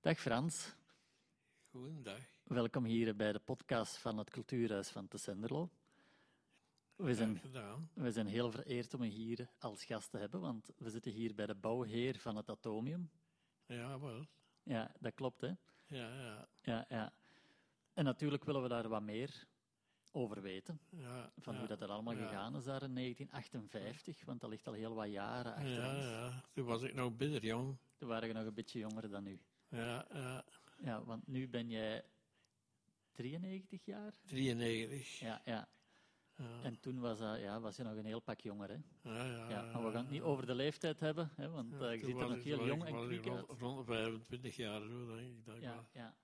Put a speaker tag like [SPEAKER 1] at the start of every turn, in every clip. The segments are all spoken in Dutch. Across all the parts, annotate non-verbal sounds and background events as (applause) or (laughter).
[SPEAKER 1] Dag Frans,
[SPEAKER 2] Goedendag.
[SPEAKER 1] welkom hier bij de podcast van het Cultuurhuis van Te Senderlo. We zijn,
[SPEAKER 2] Graag gedaan.
[SPEAKER 1] we zijn heel vereerd om u hier als gast te hebben, want we zitten hier bij de bouwheer van het Atomium.
[SPEAKER 2] Ja, wel.
[SPEAKER 1] Ja, dat klopt hè.
[SPEAKER 2] Ja, ja,
[SPEAKER 1] Ja, ja. En natuurlijk willen we daar wat meer over weten,
[SPEAKER 2] ja.
[SPEAKER 1] van
[SPEAKER 2] ja.
[SPEAKER 1] hoe dat er allemaal
[SPEAKER 2] Ja.
[SPEAKER 1] gegaan is daar in 1958, want dat ligt al heel wat jaren achter
[SPEAKER 2] Ja,
[SPEAKER 1] ons.
[SPEAKER 2] ja. Toen was ik nog bitter jong.
[SPEAKER 1] Toen waren we nog een beetje jonger dan nu.
[SPEAKER 2] Ja, ja.
[SPEAKER 1] Ja, want nu ben jij 93 jaar?
[SPEAKER 2] 93.
[SPEAKER 1] Ja, ja. En toen was, dat, ja, was je nog een heel pak jonger. Hè?
[SPEAKER 2] Ja, Ah, ja.
[SPEAKER 1] Ja, maar we gaan het niet over de leeftijd hebben, hè, want eh, je
[SPEAKER 2] Toen
[SPEAKER 1] ziet er
[SPEAKER 2] was
[SPEAKER 1] nog
[SPEAKER 2] ik-
[SPEAKER 1] heel
[SPEAKER 2] was
[SPEAKER 1] jong
[SPEAKER 2] ik-
[SPEAKER 1] en
[SPEAKER 2] was ik
[SPEAKER 1] kwiek uit.
[SPEAKER 2] rond, rond de 25 jaar, zo denk ik. Dat ik was.
[SPEAKER 1] Ja, ja.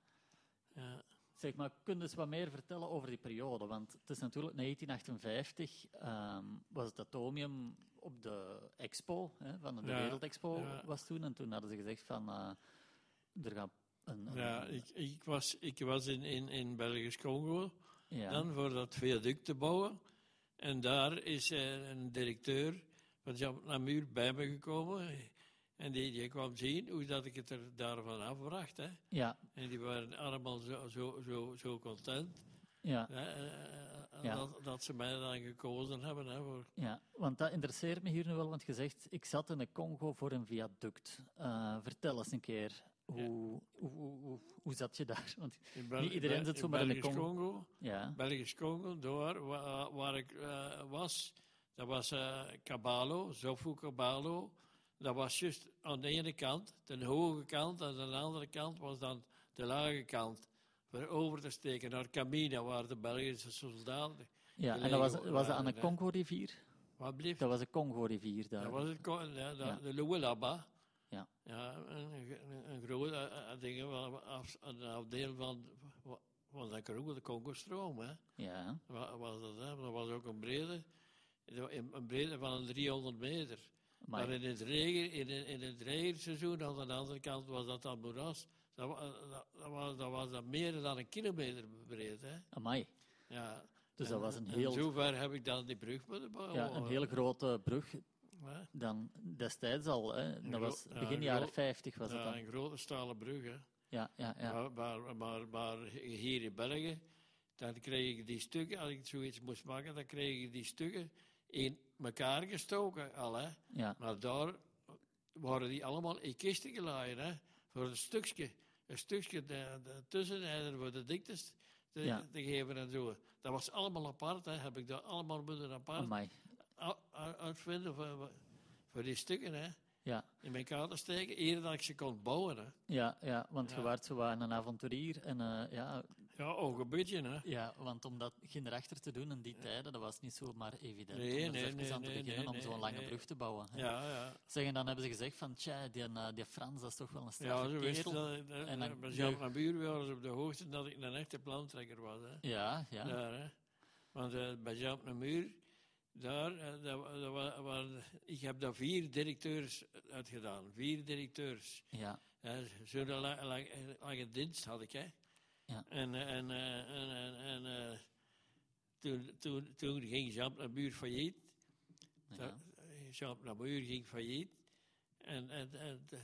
[SPEAKER 2] ja.
[SPEAKER 1] Zeg maar, kun je eens wat meer vertellen over die periode? Want het is natuurlijk 1958 ehm, was het atomium op de expo, hè, van de
[SPEAKER 2] Ja,
[SPEAKER 1] Wereldexpo
[SPEAKER 2] ja.
[SPEAKER 1] was toen. En toen hadden ze gezegd van, eh, er gaat een... een-
[SPEAKER 2] Ja, ik, ik was, ik was in, in, in Belgisch Congo
[SPEAKER 1] ja,
[SPEAKER 2] dan voor dat viaduct te bouwen. En daar is eh, een directeur van Jean Namur bij me gekomen. En die, die kwam zien hoe dat ik het er daarvan afbracht. Hè.
[SPEAKER 1] ja,
[SPEAKER 2] En die waren allemaal zo, zo, zo, zo content
[SPEAKER 1] ja.
[SPEAKER 2] hè, eh,
[SPEAKER 1] Ja.
[SPEAKER 2] dat, dat ze mij dan gekozen hebben. Hè, voor,
[SPEAKER 1] Ja, want dat interesseert me hier nu wel, want je zegt, ik zat in de Congo voor een viaduct. Eh, vertel eens een keer, hoe, hoe, hoe, hoe, hoe zat je daar? Want
[SPEAKER 2] in Bel-
[SPEAKER 1] niet iedereen
[SPEAKER 2] Bel-
[SPEAKER 1] zit zomaar in de
[SPEAKER 2] Belgisch
[SPEAKER 1] Congo.
[SPEAKER 2] Congo.
[SPEAKER 1] Ja,
[SPEAKER 2] Belgisch Congo, door waar, waar ik eh, was, dat was eh Kabalo, Zofu Kabalo. Dat was juist aan de ene kant, de hoge kant, en aan de andere kant was dan de lage kant. Voor over te steken naar Camina, waar de Belgische soldaten.
[SPEAKER 1] ja en
[SPEAKER 2] gelegen
[SPEAKER 1] dat was, was dat aan de
[SPEAKER 2] waren, hè.
[SPEAKER 1] Congo-rivier?
[SPEAKER 2] Wat bleef?
[SPEAKER 1] Dat was de Congo-rivier daar.
[SPEAKER 2] Dat was het, ko- de, de,
[SPEAKER 1] Ja.
[SPEAKER 2] de Luwelaba.
[SPEAKER 1] Ja,
[SPEAKER 2] Ja, een, een, een groot eh, eh, ding, wel, af- een afdeel van, van de Congo- de Congo-stroom. hè.
[SPEAKER 1] ja,
[SPEAKER 2] Wa- was dat, hè? dat was ook een brede, een een brede van een 300 meter.
[SPEAKER 1] Amai.
[SPEAKER 2] Maar in het, regen, in, het- in het regenseizoen, aan de andere kant, was dat dan moeras. Dat, wa- dat, dat was, dat was dan meer dan een kilometer breed. Hè?
[SPEAKER 1] amai.
[SPEAKER 2] Ja.
[SPEAKER 1] Dus dat was een
[SPEAKER 2] en oh.
[SPEAKER 1] heel-
[SPEAKER 2] zover heb ik dan die brug moeten bouwen.
[SPEAKER 1] Ja, een hele grote brug
[SPEAKER 2] hè.
[SPEAKER 1] dan destijds al. Hè. Dat
[SPEAKER 2] gro-
[SPEAKER 1] was
[SPEAKER 2] ja,
[SPEAKER 1] begin
[SPEAKER 2] een
[SPEAKER 1] jaren
[SPEAKER 2] gro-
[SPEAKER 1] 50 was dat
[SPEAKER 2] Ja,
[SPEAKER 1] dan.
[SPEAKER 2] een grote stalen brug. Hè?
[SPEAKER 1] Ja, ja, ja.
[SPEAKER 2] Maar, maar, maar, maar hier in België, dan kreeg ik die stukken, als ik zoiets moest maken, dan kreeg ik die stukken in elkaar gestoken al. Hè?
[SPEAKER 1] Ja,
[SPEAKER 2] Maar daar waren die allemaal in kisten gelaaien, hè? Voor een stukje. Een stukje de, de tussenrijder voor de diktes te,
[SPEAKER 1] Ja.
[SPEAKER 2] te geven en zo. Dat was allemaal apart, hè? Heb ik dat allemaal moeten apart
[SPEAKER 1] amai.
[SPEAKER 2] u- u- uitvinden voor, voor die stukken, hè?
[SPEAKER 1] Ja.
[SPEAKER 2] In elkaar te steken, eerder dat ik ze kon bouwen, hè?
[SPEAKER 1] Ja, ja, want je
[SPEAKER 2] Ja.
[SPEAKER 1] waart zo wat een avonturier en eh, ja,
[SPEAKER 2] Ja, ook een beetje, hè?
[SPEAKER 1] Ja, want om dat erachter te doen in die tijden, dat was niet zomaar evident.
[SPEAKER 2] Nee,
[SPEAKER 1] om er
[SPEAKER 2] nee,
[SPEAKER 1] eens even
[SPEAKER 2] nee,
[SPEAKER 1] aan te
[SPEAKER 2] nee,
[SPEAKER 1] beginnen
[SPEAKER 2] nee,
[SPEAKER 1] om zo'n
[SPEAKER 2] nee,
[SPEAKER 1] lange
[SPEAKER 2] nee.
[SPEAKER 1] brug te bouwen. hè.
[SPEAKER 2] Ja, ja.
[SPEAKER 1] Zeg, en dan hebben ze gezegd van, tja, die, eh, die Frans, dat is toch wel een
[SPEAKER 2] Ja,
[SPEAKER 1] straffe
[SPEAKER 2] zo wist
[SPEAKER 1] kerel.
[SPEAKER 2] dat.
[SPEAKER 1] En
[SPEAKER 2] En
[SPEAKER 1] dan-
[SPEAKER 2] dan, Jean van Buren waren ze op de hoogte dat ik een echte plantrekker was, hè?
[SPEAKER 1] Ja, ja, ja,
[SPEAKER 2] Daar, hè. Want eh, bij Jean op de Muur, daar, eh, daar, wa- daar wa- waren- ik heb daar vier directeurs uitgedaan. Vier directeurs.
[SPEAKER 1] ja,
[SPEAKER 2] Hè, Zo'n la- la- lange, dienst had ik, hè.
[SPEAKER 1] Ja.
[SPEAKER 2] En, eh, en, eh, en, en, en, eh, toen, toen, toen ging Jean op de Muur failliet.
[SPEAKER 1] ja.
[SPEAKER 2] Eh, Jean op de Muur ging failliet. En, en, en eh,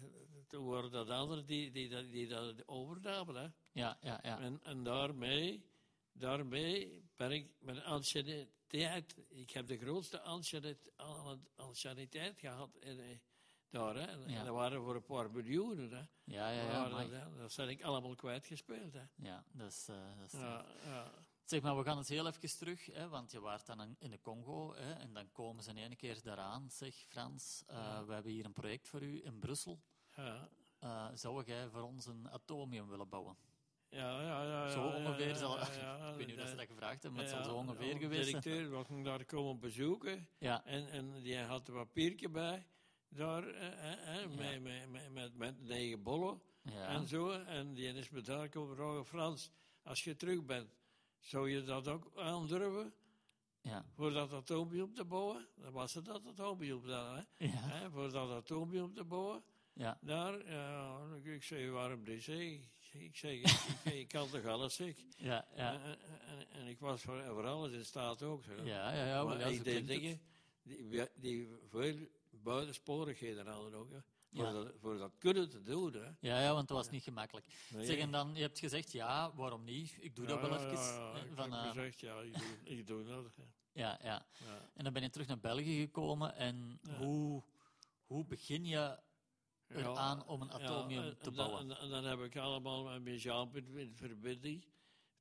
[SPEAKER 2] toen waren dat anderen die, die, dat- die dat overnamen, hè.
[SPEAKER 1] ja, ja, ja.
[SPEAKER 2] En, en daarmee, daarmee ben ik mijn anciëniteit. Ik heb de grootste anciënit- an- anciëniteit gehad in, eh, daar. Hè. En, en
[SPEAKER 1] Ja.
[SPEAKER 2] dat waren voor een paar miljoenen. Hè.
[SPEAKER 1] Ja, ja, ja,
[SPEAKER 2] Maar
[SPEAKER 1] amai.
[SPEAKER 2] dat, hè, dat zijn ik allemaal kwijtgespeeld. Hè.
[SPEAKER 1] Ja, dus, eh, dat is-
[SPEAKER 2] Ja, ja.
[SPEAKER 1] Zeg maar, we gaan eens heel even terug, hè, want je waart dan in- in de Congo hè, en dan komen ze in één keer daaraan. Zeg, Frans, eh, we hebben hier een project voor u in Brussel.
[SPEAKER 2] Ja,
[SPEAKER 1] Eh, zou jij voor ons een atomium willen bouwen?
[SPEAKER 2] ja, ja, ja,
[SPEAKER 1] Zo
[SPEAKER 2] ja,
[SPEAKER 1] ongeveer
[SPEAKER 2] ja,
[SPEAKER 1] zal.
[SPEAKER 2] ja,
[SPEAKER 1] (laughs)
[SPEAKER 2] ja,
[SPEAKER 1] ik weet niet of ze
[SPEAKER 2] dat-
[SPEAKER 1] dat gevraagd hebben, maar het
[SPEAKER 2] ja,
[SPEAKER 1] zal zo ongeveer
[SPEAKER 2] de
[SPEAKER 1] geweest zijn.
[SPEAKER 2] directeur was me daar komen bezoeken.
[SPEAKER 1] Ja,
[SPEAKER 2] En, en die had een papiertje bij, daar, eh, eh, eh, met, met, met, met, met negen bollen
[SPEAKER 1] Ja.
[SPEAKER 2] en zo. En die is me daar komen vragen, Frans, als je terug bent, zou je dat ook aandurven
[SPEAKER 1] ja,
[SPEAKER 2] voor dat atoombiom te bouwen? Dan was het dat atoombiom dan, hè?
[SPEAKER 1] Ja.
[SPEAKER 2] Hè, voor dat atoombiom te bouwen.
[SPEAKER 1] ja,
[SPEAKER 2] Daar, ja, ik- ik zei, waarom niet? zeg? Ik, ik zeg, ik, ik, ik kan toch alles, zeg.
[SPEAKER 1] ja, ja.
[SPEAKER 2] En, en- en, en ik was voor, voor alles in staat ook, zeg.
[SPEAKER 1] Ja, ja, ja,
[SPEAKER 2] Maar
[SPEAKER 1] maar ja, zo
[SPEAKER 2] ik deed
[SPEAKER 1] klinkt het.
[SPEAKER 2] dingen die, die veel buitensporigheden hadden ook. hè. Voor,
[SPEAKER 1] Ja.
[SPEAKER 2] dat, voor dat kunnen te doen. Hè.
[SPEAKER 1] Ja, ja, want dat was niet gemakkelijk.
[SPEAKER 2] Nee.
[SPEAKER 1] Zeg, en dan, je hebt gezegd, ja, waarom niet? Ik doe dat
[SPEAKER 2] Ja,
[SPEAKER 1] wel
[SPEAKER 2] ja,
[SPEAKER 1] even.
[SPEAKER 2] ja,
[SPEAKER 1] eh,
[SPEAKER 2] Ik
[SPEAKER 1] van,
[SPEAKER 2] heb
[SPEAKER 1] eh,
[SPEAKER 2] gezegd, ja, ik doe, ik doe dat. hè.
[SPEAKER 1] ja, ja.
[SPEAKER 2] Ja.
[SPEAKER 1] En dan ben je terug naar België gekomen. En
[SPEAKER 2] Ja.
[SPEAKER 1] hoe, hoe begin je eraan om een
[SPEAKER 2] ja,
[SPEAKER 1] atomium
[SPEAKER 2] en-
[SPEAKER 1] te
[SPEAKER 2] en dan-
[SPEAKER 1] bouwen?
[SPEAKER 2] En, en dan heb ik allemaal met mijn Jaap in, in verbinding,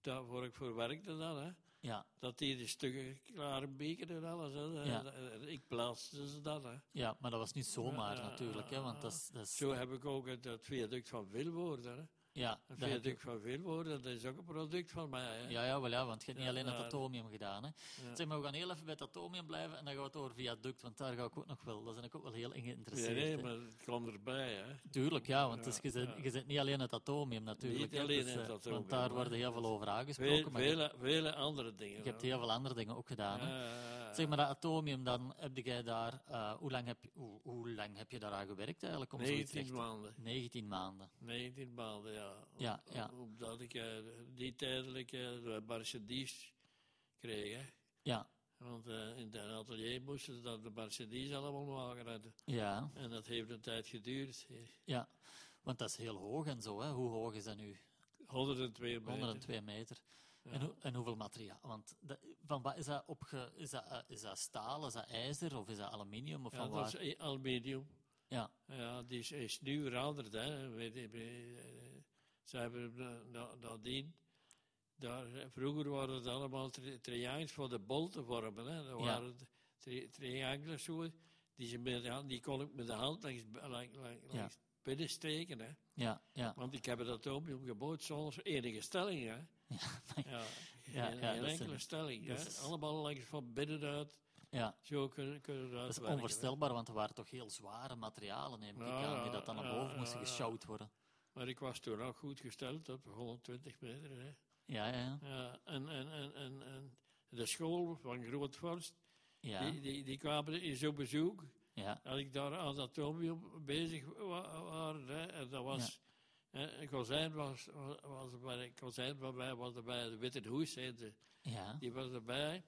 [SPEAKER 2] daarvoor ik voor werkte dan. Hè.
[SPEAKER 1] ja,
[SPEAKER 2] Dat die de stukken klaar beker en alles. Hè.
[SPEAKER 1] Ja.
[SPEAKER 2] En- en ik plaatste ze dan. Hè.
[SPEAKER 1] ja, maar dat was niet zomaar
[SPEAKER 2] Ja, ja,
[SPEAKER 1] natuurlijk, hè, want
[SPEAKER 2] ja,
[SPEAKER 1] dat is... Dat is
[SPEAKER 2] Zo heb ik ook het, het viaduct van Wilwoorden. Hè.
[SPEAKER 1] ja, dat heb
[SPEAKER 2] Het
[SPEAKER 1] je-
[SPEAKER 2] viaduct van Wilwoorden, dat is ook een product van mij. Hè.
[SPEAKER 1] ja, ja, wel ja, want je hebt niet
[SPEAKER 2] Ja,
[SPEAKER 1] alleen het
[SPEAKER 2] daar-
[SPEAKER 1] atomium gedaan. Hè.
[SPEAKER 2] Ja.
[SPEAKER 1] Zeg, maar we gaan heel even bij het atomium blijven en dan gaan we het over viaduct, want daar ga ik ook nog wel... Daar ben ik ook wel heel in
[SPEAKER 2] Nee,
[SPEAKER 1] geïnteresseerd.
[SPEAKER 2] nee,
[SPEAKER 1] hè.
[SPEAKER 2] maar het kwam erbij. Hè.
[SPEAKER 1] Tuurlijk, ja, want
[SPEAKER 2] Ja,
[SPEAKER 1] dus je, zit,
[SPEAKER 2] ja.
[SPEAKER 1] je zit niet alleen het atomium natuurlijk.
[SPEAKER 2] Niet
[SPEAKER 1] hè,
[SPEAKER 2] alleen
[SPEAKER 1] dus,
[SPEAKER 2] het
[SPEAKER 1] eh,
[SPEAKER 2] atomium,
[SPEAKER 1] Want daar
[SPEAKER 2] maar-
[SPEAKER 1] worden heel veel over
[SPEAKER 2] Veel-
[SPEAKER 1] aangesproken, maar je,
[SPEAKER 2] vele, vele andere dingen.
[SPEAKER 1] je hebt
[SPEAKER 2] hè.
[SPEAKER 1] heel veel andere dingen ook gedaan. hè.
[SPEAKER 2] Ja,
[SPEAKER 1] Zeg maar, dat atomium, dan heb jij daar... eh, hoe, lang heb, hoe, hoe lang heb je daaraan gewerkt eigenlijk? Om zoiets
[SPEAKER 2] 19
[SPEAKER 1] recht te-
[SPEAKER 2] maanden.
[SPEAKER 1] 19 maanden.
[SPEAKER 2] 19 maanden, ja.
[SPEAKER 1] Ja,
[SPEAKER 2] Om-
[SPEAKER 1] ja.
[SPEAKER 2] Omdat ik eh, die tijdelijk eh, de Mercedes kreeg. hè.
[SPEAKER 1] Ja,
[SPEAKER 2] Want eh, in het atelier moesten ze dat de Mercedes allemaal maken. hadden.
[SPEAKER 1] ja,
[SPEAKER 2] En dat heeft een tijd geduurd. eh,
[SPEAKER 1] ja. Want dat is heel hoog en zo, hè. Hoe hoog is dat nu?
[SPEAKER 2] 102 meter.
[SPEAKER 1] 102 meter.
[SPEAKER 2] Ja.
[SPEAKER 1] En, hoe- en hoeveel materiaal? Want dat- van wat is dat opge... Is dat, eh, is dat staal, is dat ijzer of is dat aluminium of
[SPEAKER 2] Ja,
[SPEAKER 1] van
[SPEAKER 2] dat
[SPEAKER 1] waar?
[SPEAKER 2] is eh, aluminium.
[SPEAKER 1] Ja,
[SPEAKER 2] Ja, die is, is nu veranderd. Hè. Weet je, eh, ze hebben hem na- na- nadien. Daar, eh, vroeger waren het allemaal tri triangels voor de bol te vormen. Hè. Dat
[SPEAKER 1] Ja.
[SPEAKER 2] waren tri triangels zo. Die, ze met de hand, die kon ik met de hand langs, langs, langs,
[SPEAKER 1] Ja.
[SPEAKER 2] langs binnen steken. Hè.
[SPEAKER 1] ja, ja.
[SPEAKER 2] Want ik heb het atomium gebouwd zonder enige stelling. Hè.
[SPEAKER 1] (laughs)
[SPEAKER 2] Ja,
[SPEAKER 1] Ja,
[SPEAKER 2] geen,
[SPEAKER 1] ja,
[SPEAKER 2] geen
[SPEAKER 1] dat is
[SPEAKER 2] enkele
[SPEAKER 1] een-
[SPEAKER 2] stelling. Hè.
[SPEAKER 1] dat is-
[SPEAKER 2] Allemaal langs van binnenuit.
[SPEAKER 1] ja.
[SPEAKER 2] Zo kunnen, kunnen we
[SPEAKER 1] Dat is
[SPEAKER 2] uitwerken, hè.
[SPEAKER 1] onvoorstelbaar, want er waren toch heel zware materialen, neem ik
[SPEAKER 2] Ja,
[SPEAKER 1] aan, die
[SPEAKER 2] ja,
[SPEAKER 1] dat dan naar
[SPEAKER 2] ja,
[SPEAKER 1] boven
[SPEAKER 2] ja,
[SPEAKER 1] moesten
[SPEAKER 2] ja.
[SPEAKER 1] gesjouwd worden.
[SPEAKER 2] Maar ik was toen ook goed gesteld op 120 meter. Hè.
[SPEAKER 1] Ja, ja, ja.
[SPEAKER 2] Ja, en, en, en, en, en de school van Grootvorst,
[SPEAKER 1] Ja,
[SPEAKER 2] die, die, die kwamen eens op bezoek.
[SPEAKER 1] ja,
[SPEAKER 2] En ik daar aan dat atomium bezig wa waren. Hè, en dat was... eh, een kozijn was, was, was bij, een kozijn van mij was erbij, de Witte Hoes heette,
[SPEAKER 1] ja.
[SPEAKER 2] die was erbij.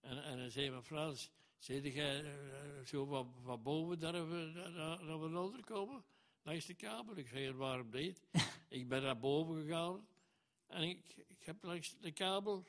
[SPEAKER 2] En, en hij zei, maar Frans, zit jij eh, eh, zo van, van boven daar even naar, naar, naar beneden komen? Langs de kabel. Ik zei, waarom niet? ik ben naar boven gegaan en ik, ik heb langs de kabel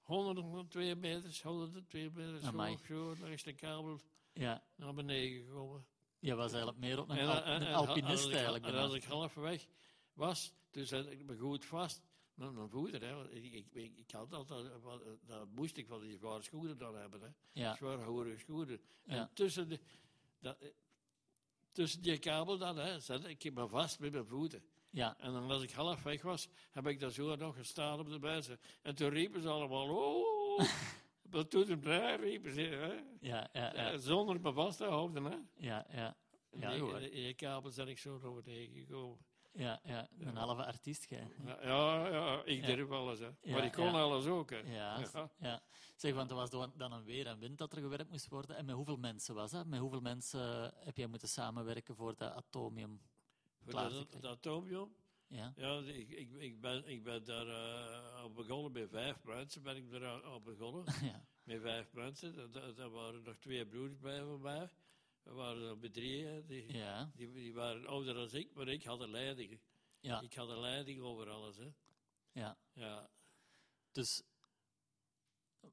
[SPEAKER 2] 102 meters, 102 meters
[SPEAKER 1] Amai.
[SPEAKER 2] hoog, zo langs de kabel
[SPEAKER 1] ja.
[SPEAKER 2] naar beneden gekomen.
[SPEAKER 1] Je was eigenlijk meer op een,
[SPEAKER 2] En-
[SPEAKER 1] al-
[SPEAKER 2] en-
[SPEAKER 1] een
[SPEAKER 2] en-
[SPEAKER 1] alpinist
[SPEAKER 2] en- en-
[SPEAKER 1] eigenlijk.
[SPEAKER 2] En
[SPEAKER 1] bijna.
[SPEAKER 2] als ik halverweg was, toen zat ik me goed vast met mijn voeten. Hè, want ik, ik, ik, ik had altijd, eh, wat- dat moest ik van die zware schoenen dan hebben. Hè,
[SPEAKER 1] Ja,
[SPEAKER 2] Zware hoerige schoenen.
[SPEAKER 1] Ja.
[SPEAKER 2] En tussen, de, dat, eh, tussen die kabel dan, hè, zat ik me vast met mijn voeten.
[SPEAKER 1] ja,
[SPEAKER 2] En dan als ik half weg was, heb ik daar zo nog gestaan op de mensen. En toen riepen ze allemaal,
[SPEAKER 1] (laughs)
[SPEAKER 2] oh, wat doet hem daar, riepen ze. Hè?
[SPEAKER 1] ja, ja, ja,
[SPEAKER 2] Eh, Zonder me vast te houden, hè.
[SPEAKER 1] ja, ja. Ja,
[SPEAKER 2] in,
[SPEAKER 1] hoor.
[SPEAKER 2] die, in die kabels ben ik zo over tegengekomen.
[SPEAKER 1] Ja, ja, een halve artiest, jij.
[SPEAKER 2] Ja, ja, ja, ik
[SPEAKER 1] Ja.
[SPEAKER 2] durf alles, hè.
[SPEAKER 1] Ja,
[SPEAKER 2] maar ik kon
[SPEAKER 1] ja.
[SPEAKER 2] alles ook, hè.
[SPEAKER 1] Ja, s- ja. Zeg, want er was dan- dan een weer en wind dat er gewerkt moest worden. En met hoeveel mensen was dat? Met hoeveel mensen heb jij moeten samenwerken voor dat atomium?
[SPEAKER 2] Voor
[SPEAKER 1] Klaar,
[SPEAKER 2] dat-
[SPEAKER 1] ik-
[SPEAKER 2] dat atomium,
[SPEAKER 1] Ja, (laughs)
[SPEAKER 2] ja, ik, ik, ik, ben, ik ben daar eh, op begonnen met vijf mensen, ben ik daar aan- aan
[SPEAKER 1] (laughs)
[SPEAKER 2] begonnen.
[SPEAKER 1] ja,
[SPEAKER 2] Met vijf mensen, dat- dat- daar waren nog twee broers bij van mij. We waren er met drieën, die,
[SPEAKER 1] ja,
[SPEAKER 2] Die, die waren ouder dan ik, maar ik had een leiding.
[SPEAKER 1] ja.
[SPEAKER 2] Ik had een leiding over alles. Hè.
[SPEAKER 1] ja.
[SPEAKER 2] Ja,
[SPEAKER 1] Dus,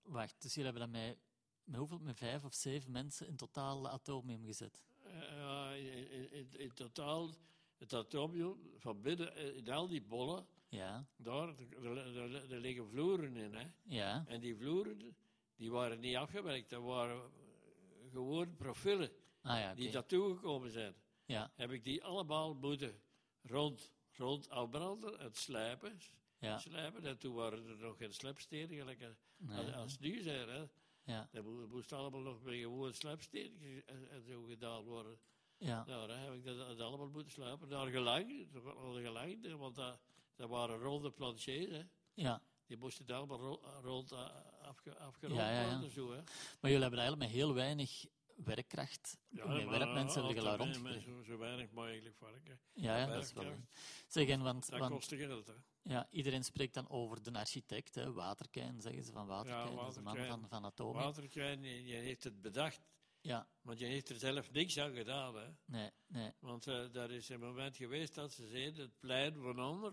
[SPEAKER 1] wacht, dus jullie hebben dan met, met hoeveel, met vijf of zeven mensen in totaal de atomium gezet?
[SPEAKER 2] Eh, ja, in, in- in- in totaal, het atomium van binnen, eh, in al die bollen,
[SPEAKER 1] Ja,
[SPEAKER 2] daar, daar, daar- daar liggen vloeren in. Hè.
[SPEAKER 1] ja,
[SPEAKER 2] En die vloeren, die waren niet afgewerkt, dat waren eh, gewoon profielen
[SPEAKER 1] ah ja, oké.
[SPEAKER 2] die daartoegekomen zijn.
[SPEAKER 1] Ja,
[SPEAKER 2] Heb ik die allemaal moeten rond, rond afbranden en slijpen.
[SPEAKER 1] ja,
[SPEAKER 2] slijpen. En toen waren er nog geen slijpstenen, gelijk als,
[SPEAKER 1] nee,
[SPEAKER 2] als nu zijn. Hè.
[SPEAKER 1] ja,
[SPEAKER 2] Dat mo- moest allemaal nog met gewoon slaapstenen en, en zo gedaan worden.
[SPEAKER 1] ja,
[SPEAKER 2] Nou, dan heb ik dat, dat allemaal moeten slapen. Naar gelang, naar gelang hè, want dat, dat waren ronde planchés. Hè.
[SPEAKER 1] ja.
[SPEAKER 2] Die moesten daar allemaal ro- rond a- afge, afgerond
[SPEAKER 1] Ja, ja, ja.
[SPEAKER 2] worden. Zo, hè.
[SPEAKER 1] Maar jullie hebben eigenlijk met heel weinig werkkracht, met
[SPEAKER 2] eh,
[SPEAKER 1] werkmensen hebben jullie rond.
[SPEAKER 2] rond. Zo, zo weinig mogelijk varken.
[SPEAKER 1] Ja, ja, dat is wel...
[SPEAKER 2] werkkracht.
[SPEAKER 1] Zeg, en want,
[SPEAKER 2] Dat
[SPEAKER 1] want
[SPEAKER 2] kostte geld. Hè.
[SPEAKER 1] ja, iedereen spreekt dan over de architect, hè, Waterkijn, zeggen ze van Waterkijn, dat is de man
[SPEAKER 2] Waterkijn.
[SPEAKER 1] van, van atomium.
[SPEAKER 2] Waterkijn, je, je heeft het bedacht.
[SPEAKER 1] Ja,
[SPEAKER 2] Want je heeft er zelf niks aan gedaan. Hè?
[SPEAKER 1] nee, nee.
[SPEAKER 2] Want eh, daar is een moment geweest dat ze zeiden, het plein van onder,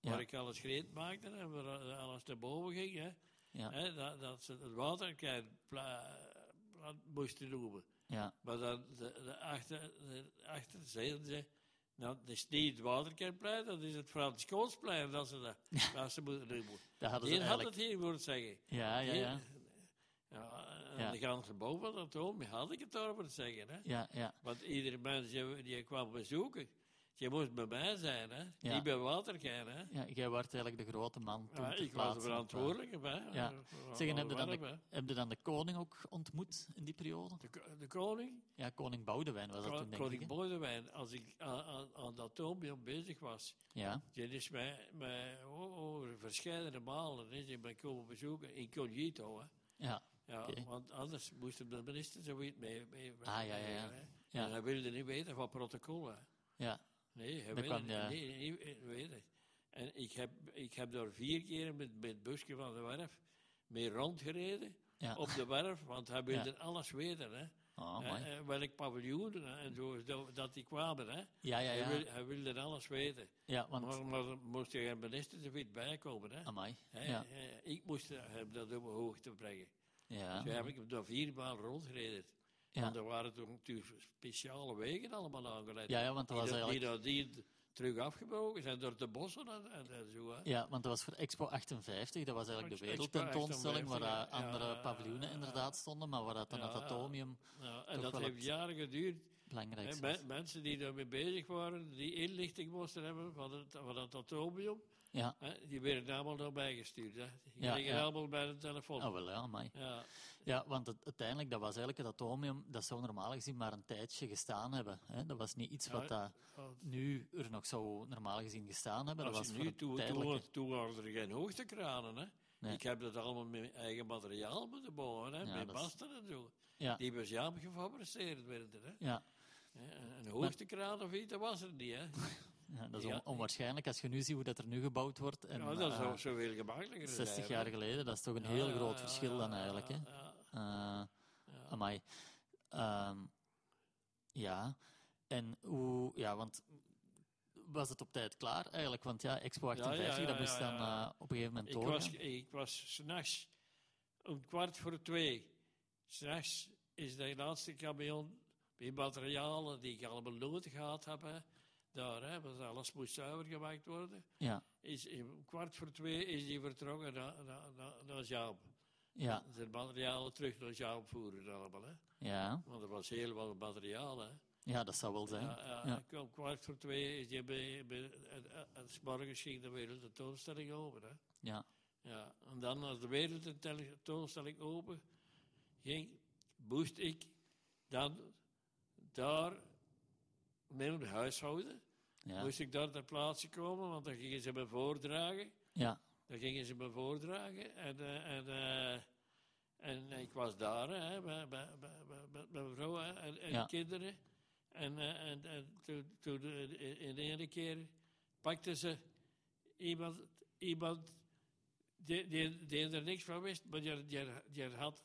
[SPEAKER 2] waar
[SPEAKER 1] Ja.
[SPEAKER 2] ik alles greet maakte en waar eh, alles naar boven ging, hè?
[SPEAKER 1] Ja.
[SPEAKER 2] Hè, dat, dat ze het waterkijn pla- pla- moesten noemen.
[SPEAKER 1] Ja,
[SPEAKER 2] Maar dan de, de achter, de, achter zeiden ze, nou, dat is niet het waterkijnplein, dat is het Frans Koolsplein dat ze, dat, dat ze moeten noemen.
[SPEAKER 1] dat hadden ze
[SPEAKER 2] Die had
[SPEAKER 1] eigenlijk.
[SPEAKER 2] het hier moeten zeggen.
[SPEAKER 1] Ja, ja, ja.
[SPEAKER 2] Ja, en
[SPEAKER 1] Ja.
[SPEAKER 2] de ganse boven dat toon had ik het over te zeggen. Hè?
[SPEAKER 1] Ja, ja,
[SPEAKER 2] Want iedere mens die, die kwam bezoeken, die moest bij mij zijn, hè?
[SPEAKER 1] Ja.
[SPEAKER 2] niet bij Waterkijn. Hè?
[SPEAKER 1] ja. Jij werd eigenlijk de grote man toen
[SPEAKER 2] Ja,
[SPEAKER 1] ter
[SPEAKER 2] ik was
[SPEAKER 1] plaatse.
[SPEAKER 2] de verantwoordelijke. Hè?
[SPEAKER 1] Ja.
[SPEAKER 2] Voor-
[SPEAKER 1] Zeg, en
[SPEAKER 2] voor
[SPEAKER 1] heb je dan
[SPEAKER 2] Warm, hè.
[SPEAKER 1] Heb je dan de koning ook ontmoet in die periode?
[SPEAKER 2] de, ko- de koning,
[SPEAKER 1] Ja, koning Boudewijn was dat
[SPEAKER 2] ko-
[SPEAKER 1] toen, denk ik.
[SPEAKER 2] koning
[SPEAKER 1] hè?
[SPEAKER 2] Boudewijn, als ik aan, aan, aan dat toonbeeld bezig was,
[SPEAKER 1] Ja,
[SPEAKER 2] die is mij, mij o- over verschillende malen is die mij komen bezoeken, incognito. Hè?
[SPEAKER 1] ja,
[SPEAKER 2] Ja,
[SPEAKER 1] Oké.
[SPEAKER 2] Want anders moest de minister zoiets mee. mee
[SPEAKER 1] Ah, ja, ja, ja.
[SPEAKER 2] hè.
[SPEAKER 1] Ja.
[SPEAKER 2] En hij wilde niet weten van protocollen.
[SPEAKER 1] ja.
[SPEAKER 2] Nee, hij
[SPEAKER 1] Dan
[SPEAKER 2] wilde
[SPEAKER 1] kwam de-
[SPEAKER 2] niet, nee, nee, nee, weet het. En ik heb, ik heb daar vier keer met, met het busje van de werf mee rondgereden
[SPEAKER 1] ja.
[SPEAKER 2] op de werf, want hij wilde alles weten. Hè.
[SPEAKER 1] Oh,
[SPEAKER 2] Eh,
[SPEAKER 1] mooi.
[SPEAKER 2] eh, welk paviljoen eh, en zo, dat, dat die kwamen. Hè.
[SPEAKER 1] Ja, ja,
[SPEAKER 2] Hij,
[SPEAKER 1] ja.
[SPEAKER 2] wil- hij wilde alles weten.
[SPEAKER 1] Ja, want...
[SPEAKER 2] Maar, maar dan moest er een minister te wit bijkomen. Hè.
[SPEAKER 1] Amai.
[SPEAKER 2] Hè,
[SPEAKER 1] Ja,
[SPEAKER 2] eh, ik moest hem dat op hoogte brengen.
[SPEAKER 1] ja.
[SPEAKER 2] Toen heb ik hem daar vier maal rondgereden.
[SPEAKER 1] Ja,
[SPEAKER 2] Want er waren toen natuurlijk speciale wegen allemaal aangelegd.
[SPEAKER 1] ja, ja want dat was
[SPEAKER 2] die, dat- die
[SPEAKER 1] eigenlijk...
[SPEAKER 2] nadien terug afgebroken zijn door de bossen en, en, en zo. Hè.
[SPEAKER 1] Ja, want dat was voor Expo 58, dat was eigenlijk de
[SPEAKER 2] Expo
[SPEAKER 1] wereldtentoonstelling, waar
[SPEAKER 2] 58,
[SPEAKER 1] eh, andere
[SPEAKER 2] ja.
[SPEAKER 1] paviljoenen inderdaad stonden, maar waar dat dan het
[SPEAKER 2] Ja.
[SPEAKER 1] atomium
[SPEAKER 2] Nou, en
[SPEAKER 1] Toch
[SPEAKER 2] dat
[SPEAKER 1] wel
[SPEAKER 2] heeft
[SPEAKER 1] het-
[SPEAKER 2] jaren geduurd.
[SPEAKER 1] belangrijk
[SPEAKER 2] En
[SPEAKER 1] was.
[SPEAKER 2] me- mensen die daarmee bezig waren, die inlichting moesten hebben van het, van het atomium,
[SPEAKER 1] Ja,
[SPEAKER 2] hè, die werden allemaal naar mij gestuurd. Hè. Die
[SPEAKER 1] Ja,
[SPEAKER 2] gingen
[SPEAKER 1] ja.
[SPEAKER 2] allemaal bij de telefoon.
[SPEAKER 1] oh, wel, ja, amai.
[SPEAKER 2] ja.
[SPEAKER 1] Ja, want het- uiteindelijk, dat was eigenlijk het atomium, dat zou normaal gezien maar een tijdje gestaan hebben. Hè? Dat was niet iets
[SPEAKER 2] Ja,
[SPEAKER 1] wat dat
[SPEAKER 2] Want
[SPEAKER 1] nu er nog zou normaal gezien gestaan hebben. Dat
[SPEAKER 2] Als
[SPEAKER 1] was
[SPEAKER 2] je
[SPEAKER 1] voor
[SPEAKER 2] nu,
[SPEAKER 1] het
[SPEAKER 2] toen,
[SPEAKER 1] tijdelijke.
[SPEAKER 2] toen, toen waren er geen hoogtekranen. Hè.
[SPEAKER 1] Nee.
[SPEAKER 2] Ik heb dat allemaal met mijn eigen materiaal moeten bouwen, hè,
[SPEAKER 1] Ja,
[SPEAKER 2] met
[SPEAKER 1] dat is-
[SPEAKER 2] basten en zo.
[SPEAKER 1] Ja.
[SPEAKER 2] Die was ja gefabriceerd werden. Hè.
[SPEAKER 1] Ja,
[SPEAKER 2] Ja, Een hoogtekraan of iets, dat was er niet. Hè.
[SPEAKER 1] ja, dat is
[SPEAKER 2] Ja.
[SPEAKER 1] on- onwaarschijnlijk als je nu ziet hoe dat er nu gebouwd wordt. En,
[SPEAKER 2] ja, dat
[SPEAKER 1] eh,
[SPEAKER 2] zou zoveel gemakkelijker zijn.
[SPEAKER 1] 60
[SPEAKER 2] hè.
[SPEAKER 1] jaar geleden, dat is toch een
[SPEAKER 2] Ja,
[SPEAKER 1] heel
[SPEAKER 2] ja,
[SPEAKER 1] groot
[SPEAKER 2] ja,
[SPEAKER 1] verschil
[SPEAKER 2] ja,
[SPEAKER 1] dan
[SPEAKER 2] ja,
[SPEAKER 1] eigenlijk. Hè?
[SPEAKER 2] ja,
[SPEAKER 1] Eh,
[SPEAKER 2] ja.
[SPEAKER 1] Amai. Ehm, ja, en hoe... Ja, want was het op tijd klaar eigenlijk? Want ja, Expo
[SPEAKER 2] ja,
[SPEAKER 1] 58, dat
[SPEAKER 2] ja,
[SPEAKER 1] moest
[SPEAKER 2] ja,
[SPEAKER 1] dan
[SPEAKER 2] ja.
[SPEAKER 1] eh, op een gegeven moment
[SPEAKER 2] Ik was,
[SPEAKER 1] doorgaan.
[SPEAKER 2] ik was s'nachts om kwart voor twee. S'nachts is de laatste camion met materialen die ik allemaal nodig gehad heb. hè, Daar, hè, want alles moest zuiver gemaakt worden.
[SPEAKER 1] Ja,
[SPEAKER 2] Is, om kwart voor twee is die vertrokken naar, naar, naar, naar Jaap.
[SPEAKER 1] ja,
[SPEAKER 2] De materialen terug naar Jaap voeren allemaal. Hè.
[SPEAKER 1] ja.
[SPEAKER 2] Want er was heel wat materiaal. Hè.
[SPEAKER 1] Ja, dat zou wel zijn.
[SPEAKER 2] Ja, ja,
[SPEAKER 1] Ja.
[SPEAKER 2] ik- Om kwart voor twee is die bij, bij, en, en, en 's morgens ging de wereldtentoonstelling open. Hè.
[SPEAKER 1] Ja.
[SPEAKER 2] Ja, en dan als de wereldtentoonstelling open ging, moest ik dan daar met mijn huishouden,
[SPEAKER 1] Ja.
[SPEAKER 2] moest ik daar ter plaatse komen, want dan gingen ze me voordragen.
[SPEAKER 1] ja,
[SPEAKER 2] Dan gingen ze me voordragen en, eh, en, eh, en ik was daar hè, bij, bij, bij- bij- met mijn vrouw hè, en, en
[SPEAKER 1] Ja.
[SPEAKER 2] kinderen. En, eh, en, en toen, toen eh, in- in de ene keer pakten ze iemand, iemand die, die, die er niks van wist, maar die, die, die, had,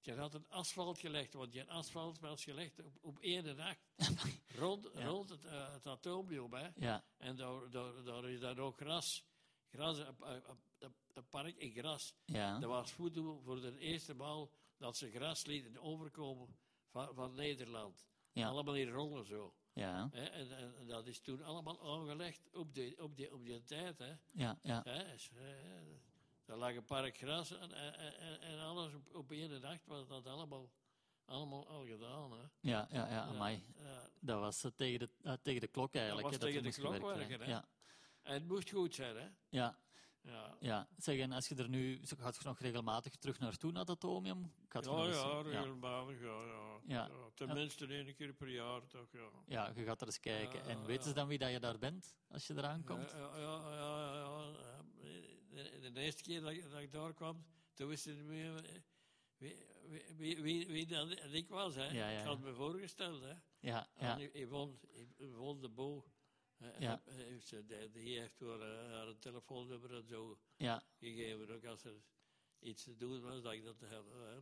[SPEAKER 2] die had een asfalt gelegd, want die asfalt was gelegd op, op één nacht
[SPEAKER 1] (laughs)
[SPEAKER 2] rond,
[SPEAKER 1] Ja.
[SPEAKER 2] rond het, eh, het atoombiom. Hè.
[SPEAKER 1] ja,
[SPEAKER 2] En daar, daar, daar is dan ook gras. gras een, pa- een- een- een park in gras.
[SPEAKER 1] ja.
[SPEAKER 2] Dat was voedsel voor de eerste maal dat ze gras lieten overkomen van, van Nederland.
[SPEAKER 1] Ja.
[SPEAKER 2] Allemaal in rollen zo.
[SPEAKER 1] Ja,
[SPEAKER 2] hè. En, en, en dat is toen allemaal aangelegd op die, op die, op die tijd. Hè.
[SPEAKER 1] ja, ja.
[SPEAKER 2] Hè, is, hè, daar lag een park gras en, en, en- en alles op, op één dag was dat allemaal, allemaal al gedaan. Hè.
[SPEAKER 1] Ja, ja, ja, amai.
[SPEAKER 2] Ja.
[SPEAKER 1] Dat was eh, tegen de, eh, tegen de klok eigenlijk.
[SPEAKER 2] was
[SPEAKER 1] hè,
[SPEAKER 2] tegen
[SPEAKER 1] er
[SPEAKER 2] de
[SPEAKER 1] moest
[SPEAKER 2] klok
[SPEAKER 1] gewerkt
[SPEAKER 2] werken,
[SPEAKER 1] werden.
[SPEAKER 2] hè.
[SPEAKER 1] Ja,
[SPEAKER 2] En het moest goed zijn, hè?
[SPEAKER 1] ja,
[SPEAKER 2] Ja.
[SPEAKER 1] ja. Zeg, en als je er nu... zo- Gaat je nog regelmatig terug naartoe, naar het atomium? Gaat je nog
[SPEAKER 2] Ja,
[SPEAKER 1] eens-
[SPEAKER 2] ja,
[SPEAKER 1] ja.
[SPEAKER 2] regelmatig, ja, ja.
[SPEAKER 1] Ja.
[SPEAKER 2] Ja, tenminste één keer per jaar, toch, ja.
[SPEAKER 1] Ja, je gaat er eens kijken.
[SPEAKER 2] Ja,
[SPEAKER 1] en
[SPEAKER 2] ja,
[SPEAKER 1] weten ze
[SPEAKER 2] ja.
[SPEAKER 1] dan wie dat je daar bent, als je eraan komt?
[SPEAKER 2] Ah. Ja, ja, ja, ja, ja, ja. De, de eerste keer dat, ik- dat ik daar kwam, toen wisten ze niet meer wie, wie, wie, wie, wie dat ik was, hè.
[SPEAKER 1] Ja, ja,
[SPEAKER 2] Ik had
[SPEAKER 1] ja.
[SPEAKER 2] me voorgesteld, hè.
[SPEAKER 1] Ja, ja,
[SPEAKER 2] En I- Yvonne, Yvonne de Bo, eh,
[SPEAKER 1] Ja.
[SPEAKER 2] heb- heeft, ze- die, die heeft haar, eh, haar telefoonnummer en zo
[SPEAKER 1] ja,
[SPEAKER 2] gegeven, ook als er iets te doen was, dat ik dat heb. hè.